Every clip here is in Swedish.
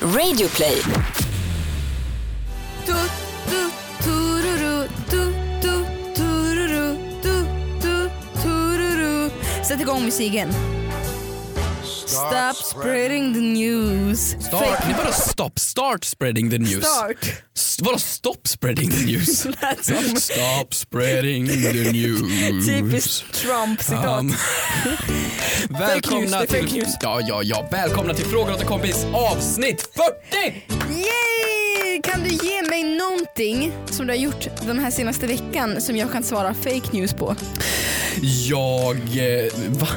Radioplay. Du, du, tururu, du, du, tururu, du, du, tururu. Sätt igång musiken. Stop spreading the news. Start, nej vadå stopp? Start spreading the news. Start. S- vadå stopp spreading the news? Lät som Stop spreading the news. typiskt Trump-citat. Um, news, det välkomna är fake till, news. ja, ja, ja, välkomna till Frågor åt en kompis avsnitt 40! Yay! Kan du ge mig någonting som du har gjort den här senaste veckan som jag kan svara fake news på? Jag, eh, va?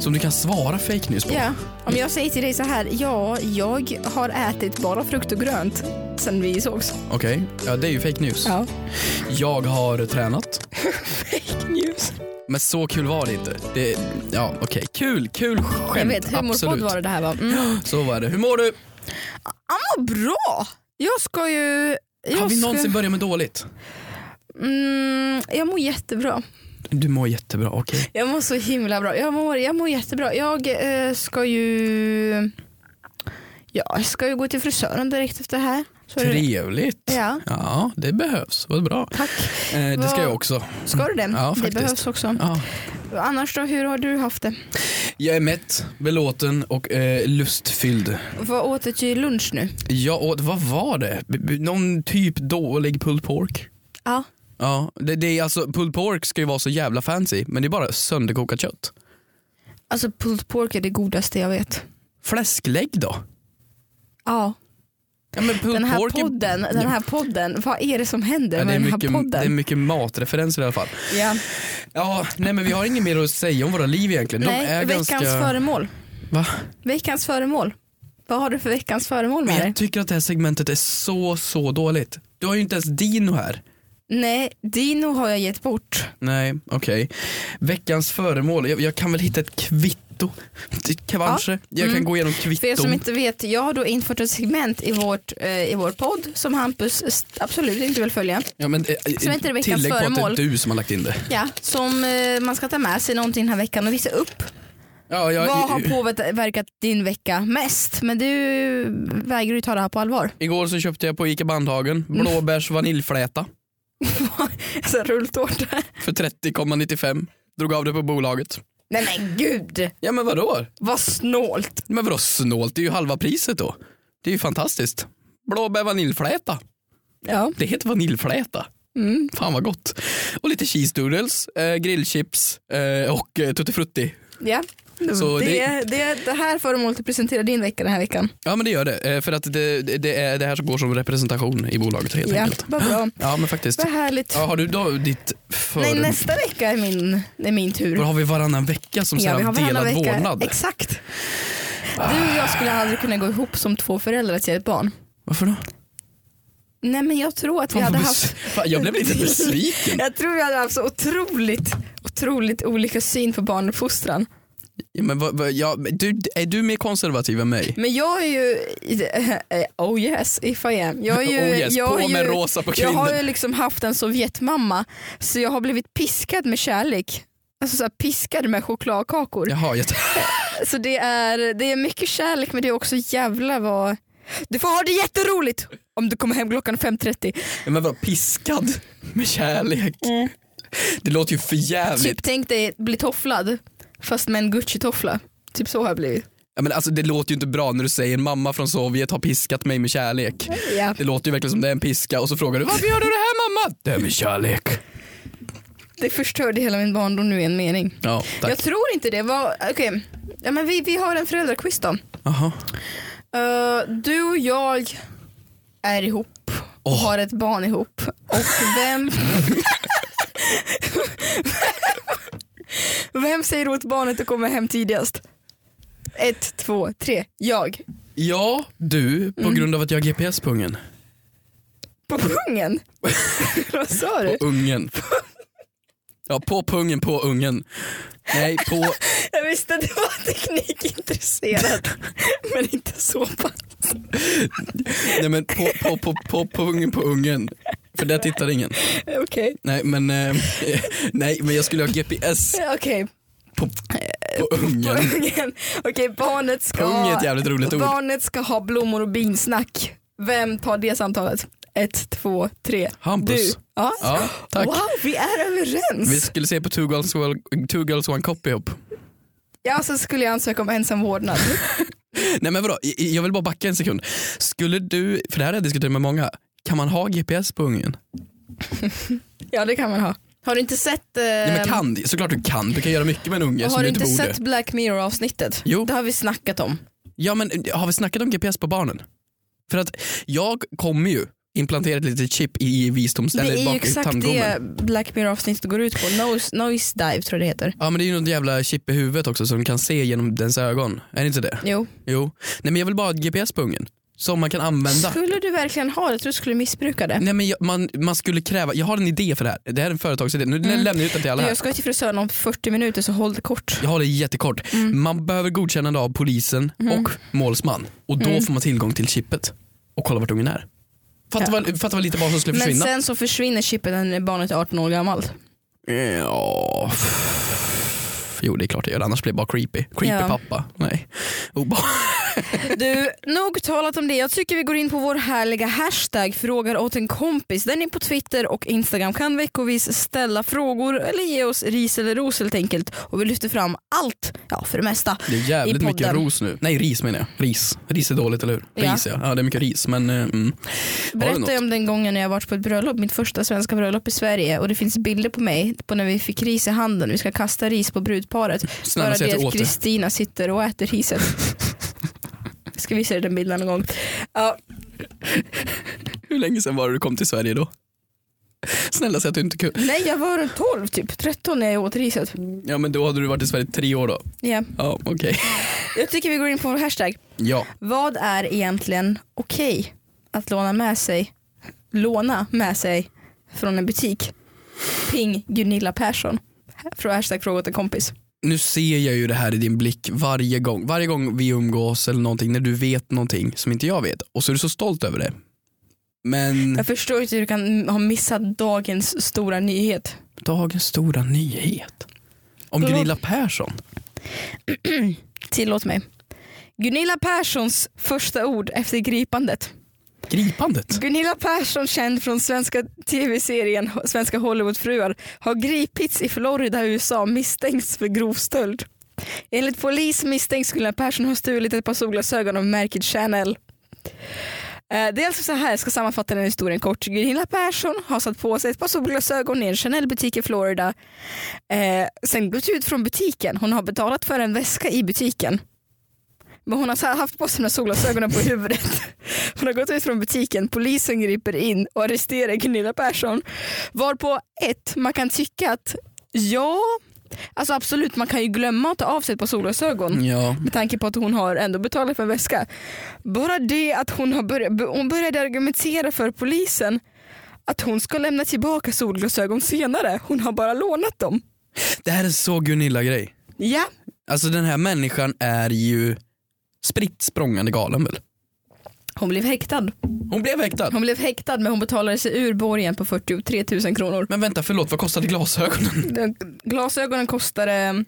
Som du kan svara fake news på? Ja, om jag säger till dig så här. Ja, jag har ätit bara frukt och grönt sen vi sågs. Okej, ja, det är ju fake news. Ja. Jag har tränat, Fake news. men så kul var det inte. Det, ja, okej, kul, kul skämt, Jag vet, humorpodd absolut. var det det här va? Mm. Så var det. Hur mår du? Han mår bra. Jag ska ju... Jag Har vi ska, någonsin börjat med dåligt? mm, jag mår jättebra. Du mår jättebra, okej. Jag mår så himla bra. Jag mår, jag mår jättebra. Jag eh, ska ju... Ja, jag ska ju gå till frisören direkt efter det här. Så är det- Trevligt. Ja. ja, det behövs. Vad bra. Tack. Eh, det ska Vad- jag också. Ska du det? Ja, det faktiskt. behövs också. Ja. Annars då, hur har du haft det? Jag är mätt, belåten och eh, lustfylld. Vad åt du till lunch nu? Jag åt, vad var det? B- b- Någon typ dålig pulled pork? Ja. Ja, det, det är alltså, pulled pork ska ju vara så jävla fancy, men det är bara sönderkokat kött. Alltså pulled pork är det godaste jag vet. Fläsklägg då? Ja. Ja, men pulled Den här pork är- podden, den här podden, vad är det som händer Ja, det, med är den här mycket, det är podden? mycket matreferenser i alla fall. ja. Ja, nej men vi har inget mer att säga om våra liv egentligen. De Nej, är veckans ganska... föremål. Va? Veckans föremål. Vad har du för veckans föremål Men med dig? jag tycker att det här segmentet är så, så dåligt. Du har ju inte ens Dino här. Nej, Dino har jag gett bort. Nej, okej. Veckans föremål, jag, jag kan väl hitta ett kvitto. Det- Kanske. Jag kan Mm. gå igenom För er kvitton. som inte vet, jag har då infört ett segment i, vårt, eh, i vår podd som Hampus st- absolut inte vill följa. Ja, men, eh, Som inte är veckans tillägg på föremål. att det är du som har lagt in det. Ja, som eh, man ska ta med sig någonting den här veckan och visa upp. Ja, jag, Vad har påverkat din vecka mest? Men du vägrar ju ta det här på allvar. Igår så köpte jag på Ica Bandhagen blåbärs vaniljfläta Alltså rulltårta. för 30,95. Drog av det på bolaget. Nej men gud, Ja men vadå? vad snålt. Men vadå snålt? Det är ju halva priset då. Det är ju fantastiskt. Blåbär vaniljfläta. Ja. Det heter vaniljfläta. Mm. Fan vad gott. Och lite cheese doodles, eh, grillchips eh, och eh, tutti-frutti. Ja. Så det, det- det... Det, här föremålet presenterar din vecka den här veckan. Ja men det gör det, eh, för att det, det- det är det här som går som representation i bolaget helt Ja, enkelt. vad bra. Ja men faktiskt. Vad härligt. Ja, har du då ditt för... Nej, nästa vecka är min, är min tur. Då har vi varannan vecka som vi sedan varannan delad vecka. vårdnad. Exakt. Du och jag skulle aldrig kunna gå ihop som två föräldrar till ett barn. Varför då? Nej men jag tror att vi Fan, hade vad haft bes- Fan, jag blev lite besviken. jag tror vi hade haft så otroligt, otroligt olika syn på barnuppfostran. Ja, men, vad, vad, ja, men du, är du mer konservativ än mig? Men jag är ju, oh yes if I am. Jag är ju, Oh yes, jag på är med ju, rosa på Jag har kinden. ju liksom haft en sovjetmamma så jag har blivit piskad med kärlek. Alltså så här, piskad med chokladkakor. Jaha, jag... Så det är, det är mycket kärlek men det är också jävla vad... Du får ha det jätteroligt om du kommer hem klockan 5.30. Ja, men vadå, piskad med kärlek? Det låter ju för jävligt. Mm. Typ tänk dig bli tofflad fast med en Gucci-toffla. Typ så har jag blivit. Ja, men alltså, det låter ju inte bra när du säger en mamma från Sovjet har piskat mig med kärlek. Ja. Det låter ju verkligen som det är en piska och så frågar du varför gör du det här mamma? Det är med kärlek. Det förstörde hela min barndom nu i en mening. Ja, tack. Jag tror inte det. Vad, okej. ja, men vi, vi har en föräldraquiz då. Aha. Eh, du och jag är ihop och Åh. har ett barn ihop. Och vem... vem säger åt barnet att komma hem tidigast? Ett, två, tre. Jag. Ja, du, på grund av att jag har GPS på ungen. På pungen? Vad sa du? På ungen. Ja, på pungen, på ungen. Nej, på... Jag visste att du var teknikintresserad. men inte så pass. Nej men på, på, på, på, på ungen, på ungen. För där tittar ingen. Okej. Nej men, eh, nej men jag skulle ha GPS Okej. på På ungen. Ungen. Okej, barnet ska, Pung är ett jävligt roligt ord. barnet ska ha blommor och binsnack. Vem tar det samtalet? Ett, två, tre. Hampus. Du. Ja. Ja, tack. Wow, vi är överens. Vi skulle se på Two Girls, two girls One Cop ihop. Ja, så skulle jag ansöka om ensam vårdnad. Nej men vadå, I- jag vill bara backa en sekund. Skulle du, för det här har jag diskuterat med många, kan man ha GPS på ungen? ja, det kan man ha. Har du inte sett, eh, Nej men kan, såklart du kan, du kan göra mycket med en unge och som har du du inte inte borde. sett Black Mirror avsnittet? Jo. Det har vi snackat om. Ja men eh, har vi snackat om GPS på barnen? För att jag kommer ju implantera ett litet chip i visdoms... Det eller är bak ju i exakt tandgommen. det Black Mirror avsnittet går ut på. Nose, noise dive tror jag det heter. Ja men det är ju något jävla chip i huvudet också som kan se genom dens ögon. Är det inte det? Jo. Jo. Nej men jag vill bara ha ett GPS på ungen. Som man kan använda. Skulle du verkligen ha det? Jag tror du skulle missbruka det. Nej men jag, man, man skulle kräva, jag har en idé för det här. Det här är en företagsidé. Nu Mm. lämnar jag ut den till alla Du, här. jag ska till frisören om 40 minuter så håll det kort. Jag har det jättekort. Mm. Man behöver godkännande av polisen och målsman. Och Mm. då får man tillgång till chippet och kolla vart ungen är. Fatta Ja. vad, fatta vad lite barn som skulle Men försvinna. sen så försvinner chippen när barnet är 18 år gammalt. Ja. f- Jo det är klart det gör det. annars blir det bara creepy. Creepy Ja. pappa. Nej. Och bara, Du, nog talat om det. Jag tycker vi går in på vår härliga hashtag frågar åt en kompis. Den är på Twitter och Instagram. Kan veckovis ställa frågor eller ge oss ris eller ros helt enkelt. Och vi lyfter fram allt, ja för det mesta. det är I jävligt podden. mycket ros nu. Nej ris menar jag. Ris. Ris är dåligt eller hur? Ja. Ris ja. ja det är mycket ris men eh, mm. Har du något? Berätta om den gången när jag varit på ett bröllop, mitt första svenska bröllop i Sverige och det finns bilder på mig på när vi fick ris i handen. Vi ska kasta ris på brudparet. Snälla, Bara säg att det du att åt det. Kristina sitter och äter riset. Ska visa dig den bilden någon gång. Ja, Hur länge sedan var det du kom till Sverige då? Snälla säg att du inte kunde. nej jag var runt 12 typ, 13 när jag åt riset. Ja men då hade du varit i Sverige tre år då. Ja. Ja okej. Jag tycker vi går in på vår hashtag. Ja. Vad är egentligen okej att låna med sig, låna med sig från en butik? Ping Gunilla Persson. Från hashtag fråga åt en kompis. nu ser jag ju det här i din blick varje gång. Varje gång vi umgås eller någonting, när du vet någonting som inte jag vet och så är du så stolt över det. Men Jag förstår inte hur du kan ha missat dagens stora nyhet. dagens stora nyhet om Förlåt. Gunilla Persson. Tillåt mig. Gunilla Perssons första ord efter gripandet. Gripandet. Gunilla Persson känd från svenska tv-serien Svenska Hollywoodfruar har gripits i Florida, USA misstänks för grov stöld. Enligt polis misstänks Gunilla Persson ha stulit ett par solglasögon av märket Chanel. Eh, Det är alltså så här, jag ska sammanfatta den här historien kort. Gunilla Persson har satt på sig ett par solglasögon i en Chanel-butik i Florida. Eh, sen gått ut från butiken. Hon har betalat för en väska i butiken. Men hon har så här haft på sig de här solglasögonen på huvudet. Hon har gått ut från butiken, polisen griper in och arresterar Gunilla Persson. Varpå ett, man kan tycka att ja, alltså absolut man kan ju glömma att ta av sig ett par solglasögon Ja. med tanke på att hon har ändå betalat för en väska. Bara det att hon, har börjat, hon började argumentera för polisen att hon ska lämna tillbaka solglasögon senare. Hon har bara lånat dem. Det här är så Gunilla-grej. Ja, Alltså den här människan är ju spritt språngande galen väl? hon blev häktad. Hon blev häktad. Hon blev häktad men hon betalade sig ur borgen på 43 000 kronor. Men vänta, förlåt, vad kostade glasögonen? Den- Glasögonen kostade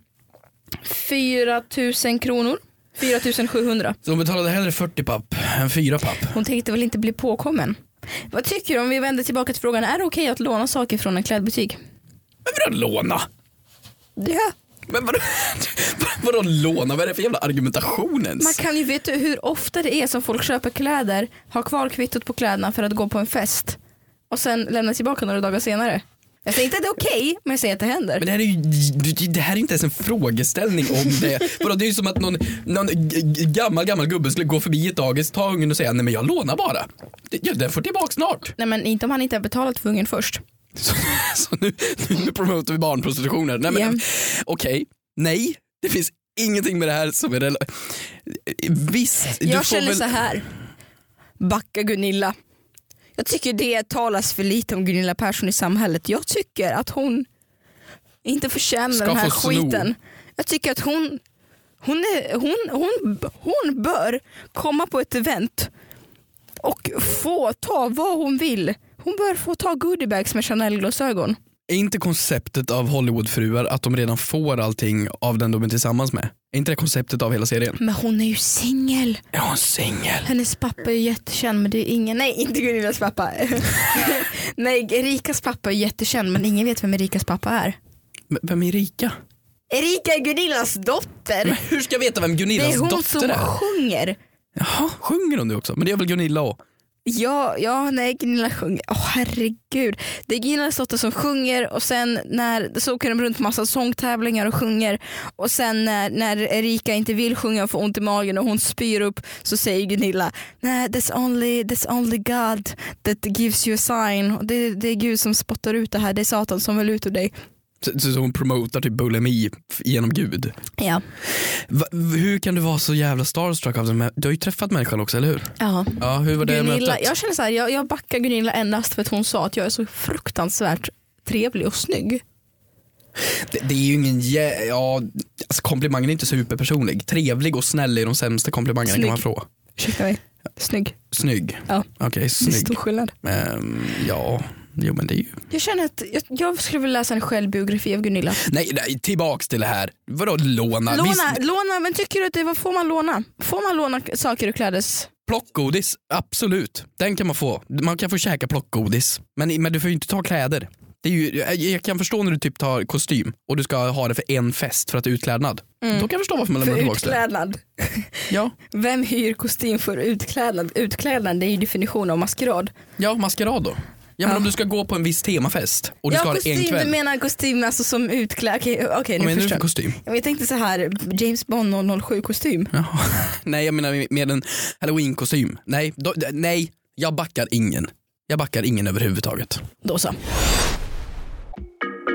4 000 kronor. 4 700. Så hon betalade hellre 40 papp än 4 papp. Hon tänkte väl inte bli påkommen. Vad tycker du om vi vänder tillbaka till frågan, är det okej att låna saker från en klädbutik? Men vadå låna? Ja. Men vadå, vadå låna? Vad är det för jävla argumentation ens? Man kan ju veta hur ofta det är som folk köper kläder, har kvar kvittot på kläderna för att gå på en fest och sen lämnar tillbaka några dagar senare. Jag säger inte att det är okej, men jag säger att det händer. Men det här är ju, det här är inte ens en frågeställning om det. Vadå, det är ju som att någon, någon g- g- gammal, gammal gubbe skulle gå förbi ett dagis, ta ungen och säga nej men jag lånar bara. Det- Ja, den får tillbaka snart. Nej men inte om han inte har betalat för ungen först. Så, så nu, nu promotar vi barnprostitution här. Nej men Ja. okej, nej. Det finns ingenting med det här som är rela- Visst, jag känner så här. Backa Gunilla. Jag tycker det talas för lite om Gunilla Persson i samhället. Jag tycker att hon inte förtjänar Ska den här få sno. skiten. Jag tycker att hon, hon, är, hon, hon, hon bör komma på ett event och få ta vad hon vill. Hon bör få ta goodiebags med Chanel-glasögon. Är inte konceptet av Hollywoodfruar att de redan får allting av den de är tillsammans med? Är inte det konceptet av hela serien? Men hon är ju singel. Är hon singel? Hennes pappa är jättekänd men det är ingen, nej inte Gunillas pappa. nej Erikas pappa är jättekänd men ingen vet vem Erikas pappa är. V- Vem är Erika? Erika är Gunillas Men dotter. hur ska jag veta vem Det Gunillas är hon dotter som är? sjunger. Jaha, sjunger hon det också? Men det är väl Gunilla och Ja, ja, nej Gunilla sjunger. Åh herregud. Det är Gunillas dotter som sjunger och sen när, så åker de runt på massa sångtävlingar och sjunger och sen när, när Erika inte vill sjunga och får ont i magen och hon spyr upp så säger Gunilla nej that's only, that's only God that gives you a sign. Och Det, det är Gud som spottar ut det här, det är Satan som vill ut ur dig. Så, så hon promotar typ bulimi f- genom gud. Ja. Va, hur kan du vara så jävla starstruck av den här? Du har ju träffat människan också, eller hur? ja. Ja, hur var det Gunilla, mötet? jag känner så här, jag, jag backar Gunilla endast för att hon sa att jag är så fruktansvärt trevlig och snygg. Det, det är ju ingen, jä- ja, alltså komplimangen är inte superpersonlig. Trevlig och snäll är de sämsta komplimangerna Snygg. kan man få. Ursäkta mig. Snygg. Snygg? Ja. Okej, Det är snygg. stor skillnad. Ehm, ja, jo men det är ju. Jag känner att jag, jag skulle vilja läsa en självbiografi av Gunilla. Nej, nej tillbaks till det här. Vadå låna? låna, Visst, låna, men tycker du att det var, får man låna? Får man låna k- saker och klädes? plockgodis, absolut. Den kan man få. Man kan få käka plockgodis. Men, men du får ju inte ta kläder. Det är ju, jag- jag kan förstå när du typ tar kostym och du ska ha det för en fest för att utklädnad. Mm. Då kan jag förstå varför man lämnar tillbaka det. utklädnad. Ja, Vem hyr kostym för utklädnad? Utklädnad det är ju definition av maskerad. ja maskerad då. Ja, men Ja. om du ska gå på en viss temafest och du ska ja ha det en kostym, du kväll. menar kostym alltså som utklädd. Okej okej, Vad nu menar du förstår för jag. kostym? Men Jag tänkte så här James Bond 007 kostym. Jaha. Nej jag menar med en halloween-kostym. Nej, då, d- nej, jag backar ingen. Jag backar ingen överhuvudtaget. Då så.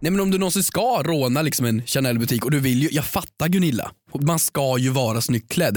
Nej men om du någonsin ska råna liksom en Chanel-butik och du vill ju, jag fattar Gunilla, man ska ju vara snyggt klädd.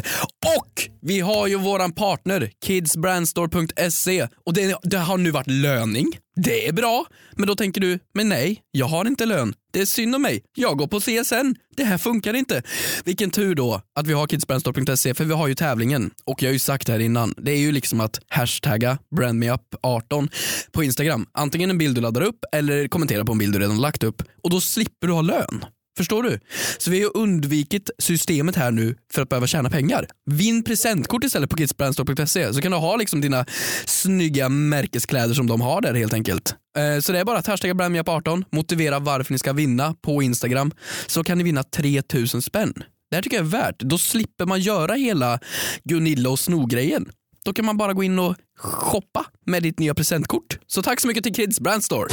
Och vi har ju våran partner kidsbrandstore.se och det, det har nu varit löning, det är bra. Men då tänker du, men nej, jag har inte lön, det är synd om mig, jag går på CSN, det här funkar inte. Vilken tur då att vi har kidsbrandstore.se för vi har ju tävlingen och jag har ju sagt det här innan, det är ju liksom att hashtagga brandmeup18 på Instagram, antingen en bild du laddar upp eller kommentera på en bild du redan lagt upp och då slipper du ha lön. Förstår du? Så vi har ju undvikit systemet här nu för att behöva tjäna pengar. Vinn presentkort istället på kidsbrandstore.se så kan du ha liksom dina snygga märkeskläder som de har där helt enkelt. Eh, Så det är bara att hashtagga brandmeup18, motivera varför ni ska vinna på Instagram så kan ni vinna 3000 spänn. Det här tycker jag är värt. Då slipper man göra hela Gunilla och Sno-grejen. Då kan man bara gå in och shoppa med ditt nya presentkort. Så tack så mycket till Kids Brand Store.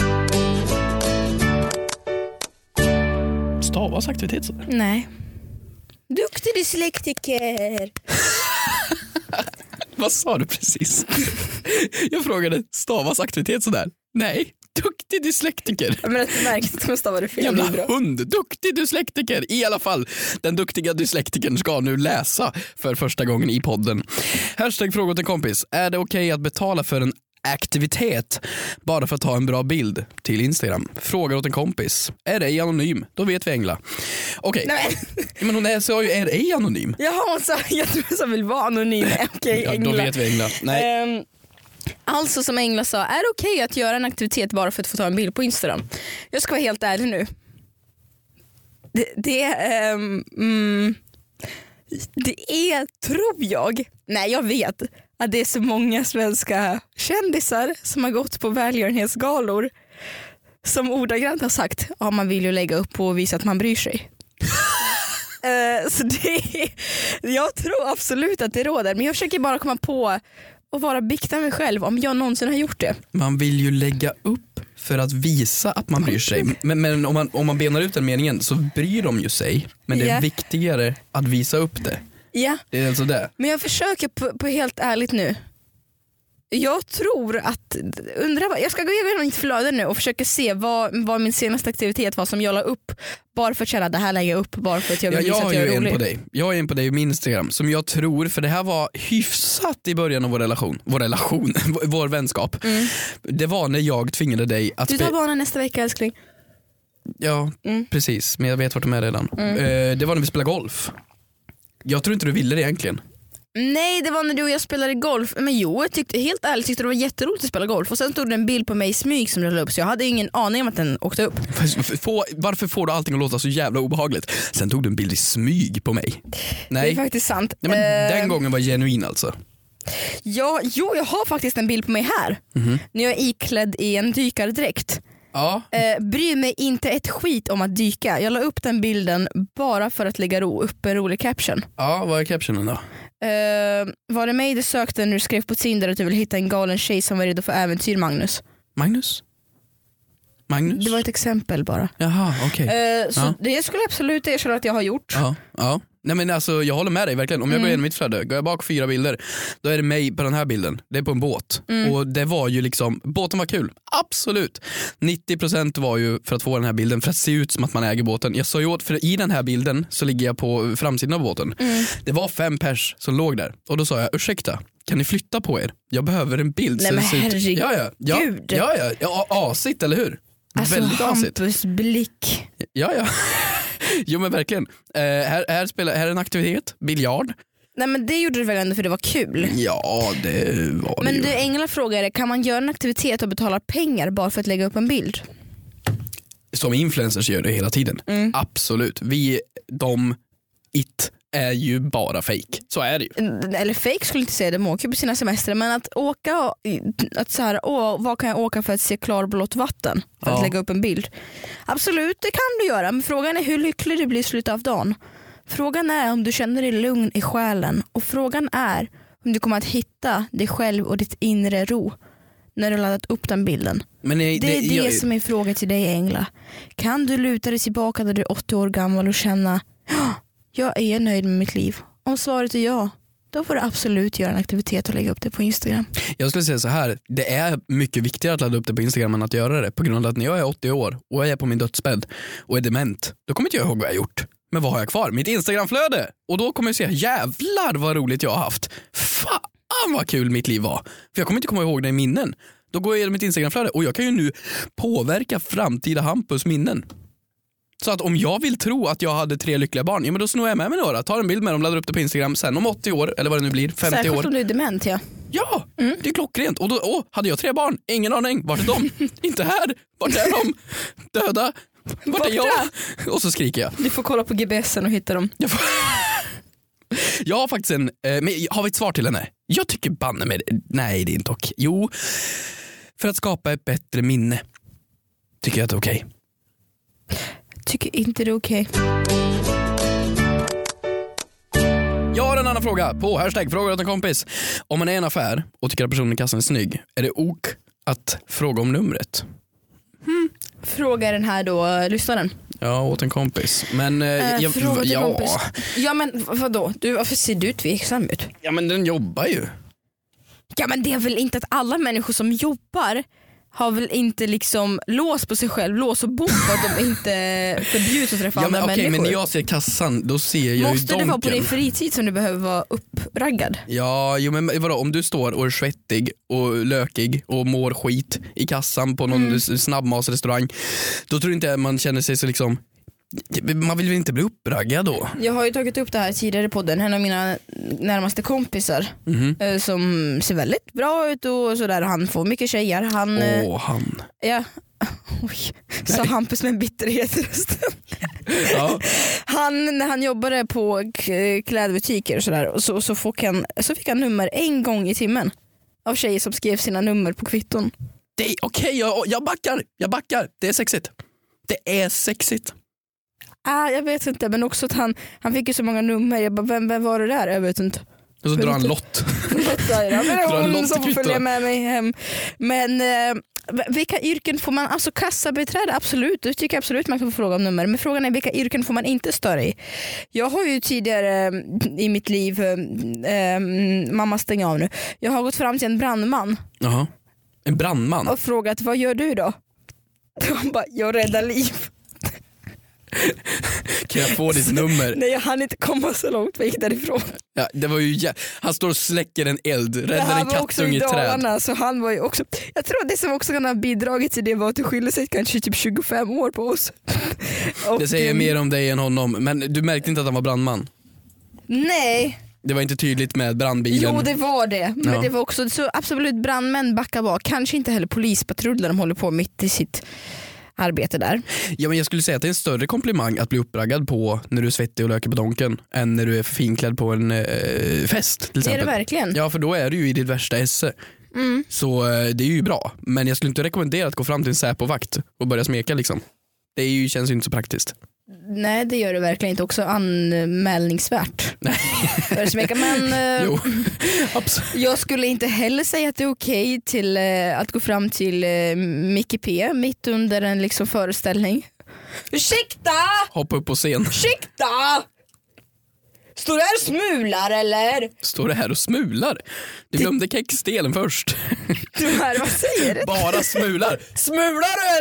Stavas aktivitet så. Nej. Duktig dyslektiker. Vad sa du precis? Jag frågade, stavas aktivitet sådär? Nej, duktig dyslektiker. Men att du märkte att hon stavade fel. det är Jävla bra. hund, duktig dyslektiker. I alla fall, den duktiga dyslektikern ska nu läsa för första gången i podden. Hashtag frågor till kompis. Är det okej att betala för en aktivitet bara för att ta en bra bild till Instagram? Frågar åt en kompis. Är det anonym? Då vet vi Engla. Okej, Nej, men- men hon är, sa ju är det anonym. Jaha, hon sa, jag tror hon sa vill vara anonym. Okej, Ja, då Engla. vet vi Engla. Nej. Ehm, alltså som Engla sa, är det okej att göra en aktivitet bara för att få ta en bild på Instagram? Jag ska vara helt ärlig nu. Det, det, ehm, mm, det är, tror jag, nej jag vet att det är så många svenska kändisar som har gått på välgörenhetsgalor som ordagrant har sagt ja man vill ju lägga upp och visa att man bryr sig. Eh, så det är, jag tror absolut att det råder men jag försöker bara komma på och vara bikta mig själv om jag någonsin har gjort det. Man vill ju lägga upp för att visa att man bryr Mm. sig. Men, men om, man, om man benar ut den meningen så bryr de ju sig. Men det är Ja. viktigare att visa upp det. Ja, Det är alltså det. men jag försöker på, på helt ärligt nu. Jag tror att, undrar, vad- jag ska gå igenom mitt flöde nu och försöka se vad, vad min senaste aktivitet var som jag la upp. Bara för att känna det här lägger jag upp, bara för att jag Ja, vill jag visa har att jag ju är en rolig. på dig. Jag har en på dig i min Instagram som jag tror, för det här var hyfsat i början av vår relation, vår relation, vår- vår vänskap. Det var när jag tvingade dig att Mm. Du spe- tar banan nästa vecka älskling. Mm. Ja, precis. Men jag vet vart de är redan. Eh, det var när vi spelade golf. Jag tror inte du ville det egentligen. Nej det var när du och jag spelade golf, men jo jag tyckte, helt ärligt tyckte det var jätteroligt att spela golf och sen stod det en bild på mig i smyg som du la upp så jag hade ingen aning om att den åkte upp. Fast Få, varför får du allting att låta så jävla obehagligt? Sen tog du en bild i smyg på mig. Det är Nej, faktiskt sant. Nej men Eh, den gången var genuin alltså. ja, jo jag har faktiskt en bild på mig här. Mhm. När jag är iklädd i en dykardräkt. Ja, Eh, bryr mig inte ett skit om att dyka. Jag la upp den bilden bara för att lägga ro, upp en rolig caption. ja vad är captionen då? Eh, var det mig du sökte när du skrev på Tinder att du ville hitta en galen tjej som var redo för äventyr Magnus? Magnus? Magnus? Det var ett exempel bara. Jaha, okej. Eh, så Ja. det skulle jag absolut erkänna att jag har gjort. Mm. Ja, ja. Nej, men alltså, jag håller med dig verkligen. Om jag går igenom mitt flöde, går jag bak fyra bilder, då är det mig på den här bilden. Det är på en båt. Mm. Och det var ju liksom, båten var kul, absolut. 90% var ju för att få den här bilden, för att se ut som att man äger båten. Jag sa ju åt, för i den här bilden så ligger jag på framsidan av båten. Mm. Det var fem pers som låg där och då sa jag ursäkta, kan ni flytta på er? Jag behöver en bild. Nej, så men det ser ut- Ja, ja, ja, herregud. ja, ja, ja, asigt eller hur? Alltså Väldigt asigt. Hampus blick. Ja, ja. Jo men verkligen. Eh, här, här, spelar, här är en aktivitet, biljard. Nej men det gjorde du väl ändå för det var kul? Ja det var Men det ju. du Engla frågade, kan man göra en aktivitet och betala pengar bara för att lägga upp en bild? Som influencers gör det hela tiden. Mm. Absolut. Vi, de, it är ju bara fake. Så är det ju. eller fake skulle jag inte säga, de åker på sina semester men att åka, och- att så här, åh, vad kan jag åka för att se klarblått vatten? För att Ja. lägga upp en bild. Absolut det kan du göra men frågan är hur lycklig du blir i slutet av dagen. Frågan är om du känner dig lugn i själen och frågan är om du kommer att hitta dig själv och ditt inre ro när du har laddat upp den bilden. Men nej, Det är det, jag- som är frågan till dig Engla. Kan du luta dig tillbaka när du är 80 år gammal och känna "Ja, jag är nöjd med mitt liv? Om svaret är ja, då får du absolut göra en aktivitet och lägga upp det på Instagram. Jag skulle säga så här, det är mycket viktigare att ladda upp det på Instagram än att göra det. På grund av att när jag är 80 år och jag är på min dödsbädd och är dement, då kommer inte jag ihåg vad jag gjort. Men vad har jag kvar? Mitt Instagramflöde! Och då kommer jag se, jävlar vad roligt jag har haft. Fan vad kul mitt liv var. För jag kommer inte komma ihåg det i minnen. Då går jag igenom mitt Instagramflöde och jag kan ju nu påverka framtida Hampus minnen. Så att om jag vill tro att jag hade tre lyckliga barn, ja men då snor jag med mig några, tar en bild med dem, laddar upp det på Instagram, sen om 80 år, eller vad det nu blir, 50 Särskilt år. om du är dement ja. Ja, Mm. det är klockrent. Och då, åh, hade jag tre barn? Ingen aning. Vart är de? Inte här. Vart är de? Döda. Vart är jag? Och så skriker jag. Du får kolla på GBSen och hitta dem. Jag, får... jag har faktiskt en, eh, men har vi ett svar till henne? Jag tycker banne mig nej det är inte okej. Jo, för att skapa ett bättre minne tycker jag att det är okej. Tycker inte det är okej. Jag har en annan fråga på hashtag frågar åt en kompis. Om man är i en affär och tycker att personen i kassan är snygg, är det ok att fråga om numret? Fråga den här då eh, lyssnaren. Ja, åt en kompis. Men eh, Eh, jag, fråga till ja. kompis. Ja men v- vadå? Du, varför ser du tveksam ut? Ja men den jobbar ju. Ja men det är väl inte att alla människor som jobbar har väl inte liksom lås på sig själv, lås och bom för att de inte förbjuds att träffa Ja, men, andra okej, människor. men när jag ser kassan då ser jag Måste ju det vara på donken. din fritid som du behöver vara uppraggad? Ja, jo, men vadå, om du står och är svettig och lökig och mår skit i kassan på Mm. någon s- snabbmatsrestaurang, då tror jag inte man känner sig så liksom, man vill väl inte bli uppraggad då? Jag har ju tagit upp det här tidigare i podden, en av mina närmaste kompisar Mhm. eh, som ser väldigt bra ut och sådär. Han får mycket tjejer. Han, Åh, eh, han. ja, oj, sa Hampus med en bitterhet i rösten. Ja. Han, när han jobbade på k- klädbutiker och sådär, så, så, fick han, så fick han nummer en gång i timmen av tjejer som skrev sina nummer på kvitton. Det är- Okej, jag, jag backar, jag backar. Det är sexigt. Det är sexigt. Äh, Ah, jag vet inte, men också att han, han fick ju så många nummer. Jag bara, vem, vem var det där? Jag vet inte. Och så drar han lott. Lotta är det. Men det Dra var en hon lott som i får kvitto. följa med mig hem. Men eh, v- vilka yrken får man, alltså kassabiträde absolut, det tycker jag absolut man kan få fråga om nummer. Men frågan är vilka yrken får man inte störa i? Jag har ju tidigare eh, i mitt liv, eh, eh, mamma stäng av nu, jag har gått fram till en brandman Jaha. En brandman? och frågat vad gör du då? Han bara, jag räddar liv. Kan jag få ditt nummer? Nej jag hann inte komma så långt, jag gick därifrån. Ja, det var ju jä- Han står och släcker en eld, det räddar här en var också kattunge i i träd. Dalarna, så han var ju också, jag tror att det som också kan ha bidragit till det var att det skilde sig kanske typ 25 år på oss. Och, Det säger eh, mer om dig än honom. Men du märkte inte att han var brandman? Nej, Det var inte tydligt med brandbilen? jo det var det. Men Ja. det var också så absolut brandmän backar bak. Kanske inte heller polispatruller de håller på mitt i sitt arbete där. Ja, men jag skulle säga att det är en större komplimang att bli uppraggad på när du är svettig och löker på donken än när du är finklädd på en eh, fest. Till Det är det exempel. verkligen. Ja, för då är du ju i ditt värsta esse. Mm. Så eh, det är ju bra. Men jag skulle inte rekommendera att gå fram till en Säpo-vakt och börja smeka liksom. Det är ju, känns ju inte så praktiskt. Nej det gör det verkligen inte. Också anmälningsvärt. Nej. För smeka, Men eh, Jo, absolut. Jag skulle inte heller säga att det är okej till, eh, att gå fram till eh, Micke P mitt under en liksom, föreställning. Ursäkta! Hoppa upp på scen. Ursäkta! Står du här och smular eller? Står det här och smular. Du glömde kexdelen först. Du här, vad säger du? Bara smular. Smular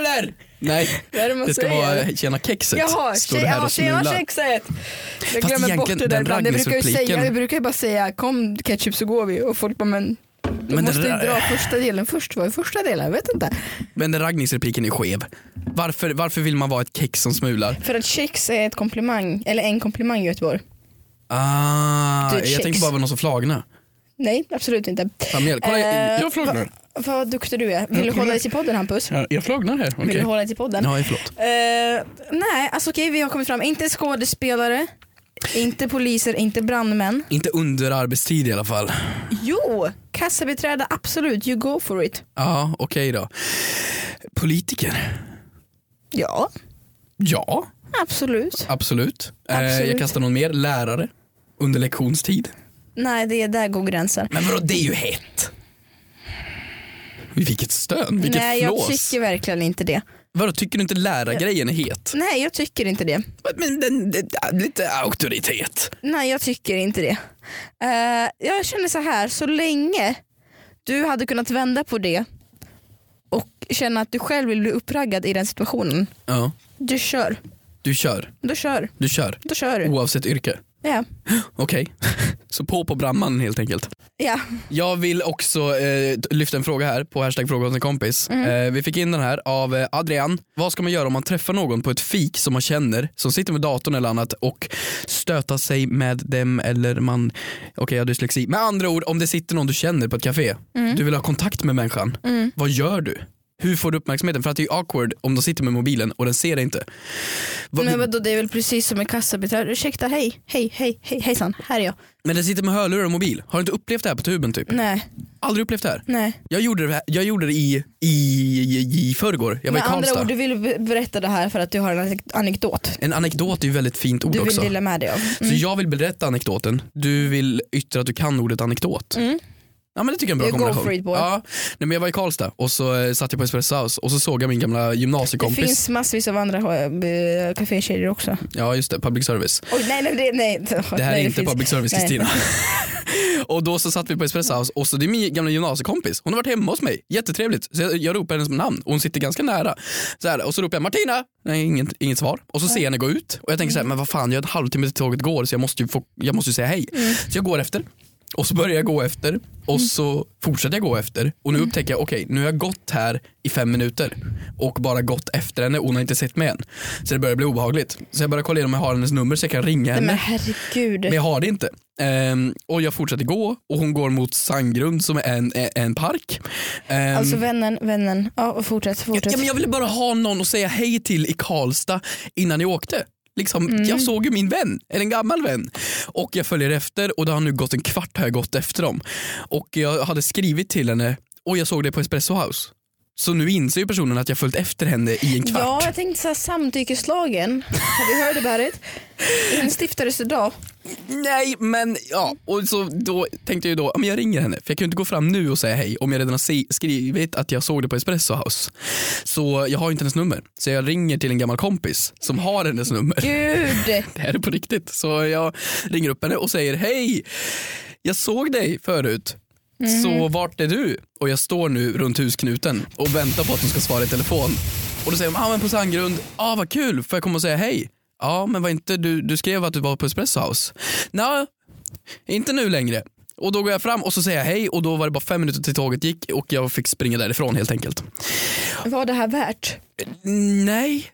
du eller? Nej, Det är det man det ska säger. vara tjena kexet. Jaha, Står tjej, du här ja, och tjena smular. kexet! Jag Fast glömmer bort egentligen, det där den ibland. Jag brukar, ju säga, raggningsrepliken- jag brukar ju bara säga kom ketchup så går vi och folk bara men du Men det måste ju där- dra första delen först. Vad är första delen? Jag vet inte. Men den raggningsrepliken är skev. Varför, varför vill man vara ett kex som smular? För att kex är ett komplimang, eller en komplimang i Göteborg. Ah, Du är ett jag kex. tänkte bara vara någon som flagnar. Nej, absolut inte. Flamel. Kolla, Eh, jag flagnar. Fan vad duktig du är. Vill du hålla dig till podden Hampus? Ja, Jag flagnar här. Vill okej. du hålla dig till podden? Ja, förlåt. Eh, nej, alltså okej vi har kommit fram. Inte skådespelare, inte poliser, inte brandmän. Inte under arbetstid i alla fall. Jo, kassabiträde absolut, you go for it. Ja, okej då. Politiker? Ja, Ja, absolut. absolut. Eh, Absolut. jag kastar någon mer. Lärare? Under lektionstid? Nej, det är där går gränsen. Men vadå, det är ju hett. Vilket stön, vilket nej, jag flås. tycker verkligen inte det. Vadå, tycker du inte lärargrejen är het? Nej, jag tycker inte det. Men den, den, lite auktoritet. Nej jag tycker inte det. Eh, jag känner så här, så länge du hade kunnat vända på det och känna att du själv vill bli uppraggad i den situationen. Ja, Du kör, du kör. du kör, Du kör. då kör du. Oavsett yrke. Ja. Okej, så på på brandmannen helt enkelt. ja. Jag vill också eh, t- lyfta en fråga här på hashtag fråga hos en kompis. Eh, vi fick in den här av eh, Adrian. Vad ska man göra om man träffar någon på ett fik som man känner, som sitter med datorn eller annat och stöta sig med dem eller man, okej jag har dyslexi. Med andra ord, om det sitter någon du känner på ett café, du vill ha kontakt med människan, vad gör du? Hur får du uppmärksamheten? För att det är awkward om de sitter med mobilen och den ser dig inte. Vad- Men vadå det är väl precis som en kassabiträde. Ursäkta hej, hej, hej, hej, hejsan, här är jag. men den sitter med hörlurar och mobil. Har du inte upplevt det här på tuben typ? Nej, Aldrig upplevt det här? nej. Jag gjorde det, här, jag gjorde det i, i, i, i förrgår. Jag var Med i Karlstad. andra ord, du vill be- berätta det här för att du har en anek- anekdot. En anekdot är ju väldigt fint ord Du vill också. dela Mm. med dig av. Så jag vill berätta anekdoten, du vill yttra att du kan ordet anekdot. Ja men det tycker jag är en You bra Mm. go kombination. for it, boy. Ja. Nej, men jag var i Karlstad och så eh, satt jag på Espresso House och så såg jag min gamla Det gymnasiekompis. finns massvis av andra eh, kafékedjor också. Ja just det, public service. Oj nej, nej, nej, nej. Det här nej, är inte finns- public service nej. Kristina. och då så satt vi på Espresso House och så det är min gamla gymnasiekompis. Hon har varit hemma hos mig, jättetrevligt. Så jag, jag ropar hennes namn och hon sitter ganska nära. Så här, och så ropar jag Martina, nej inget, inget svar. Och så ser jag henne gå ut och jag tänker så Mm. här, men vad fan jag har en halvtimme till tåget går så jag måste ju, få, jag måste ju säga hej. Mm. Så jag går efter. Och så börjar jag gå efter och så fortsätter jag gå efter och nu Mm. upptäcker jag okej nu har jag gått här i fem minuter och bara gått efter henne och hon har inte sett mig än. Så det börjar bli obehagligt. Så jag börjar kolla igenom om jag har hennes nummer så jag kan ringa Nej henne. men herregud. Men jag har det inte. Ehm, och jag fortsätter gå och hon går mot Sandgrund som är en, en- en park. Ehm, Alltså vännen, vännen. Ja, och fortsätt, fortsätt. ja, men jag ville bara ha någon att säga hej till i Karlstad innan jag åkte. Liksom, Mm. Jag såg ju min vän, eller en gammal vän. Och jag följer efter och det har nu gått en kvart har jag gått efter dem. Och jag hade skrivit till henne och jag såg det på Espresso House. Så nu inser ju personen att jag följt efter henne i en kvart. Ja, jag tänkte så här, samtyckeslagen. Har vi hört about it? Den stiftades idag. Nej men ja, och så då tänkte jag ju då, ja, men jag ringer henne för jag kan ju inte gå fram nu och säga hej om jag redan har se- skrivit att jag såg det på Espresso House. Så jag har ju inte hennes nummer. Så jag ringer till en gammal kompis som har hennes nummer. Gud! Det här är på riktigt. Så jag ringer upp henne och säger hej, jag såg dig förut. Så vart är du? Och jag står nu runt husknuten och väntar på att hon ska svara i telefon. Och då säger hon, ah, men på Sandgrund, ah, vad kul, får jag komma och säga hej? Ja men var inte du, du skrev att du var på Espresso House? Nej, inte nu längre. Och då går jag fram och så säger jag hej och då var det bara fem minuter till tåget gick och jag fick springa därifrån helt enkelt. Var det här värt? Nej,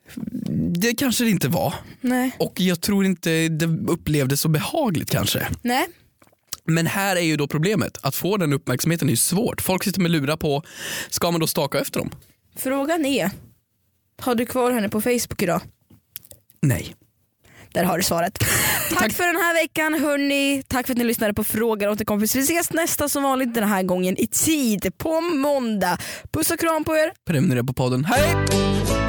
det kanske det inte var. Nej. Och jag tror inte det upplevdes så behagligt kanske. Nej. Men här är ju då problemet, att få den uppmärksamheten är ju svårt. Folk sitter med lurar på, ska man då staka efter dem? Frågan är, har du kvar henne på Facebook idag? Nej. Där har du svaret. Tack, för den här veckan hörni. Tack för att ni lyssnade på frågor åt en kompis. Vi ses nästa som vanligt den här gången i tid på måndag. Puss och kram på er. Prenumerera på podden, hej!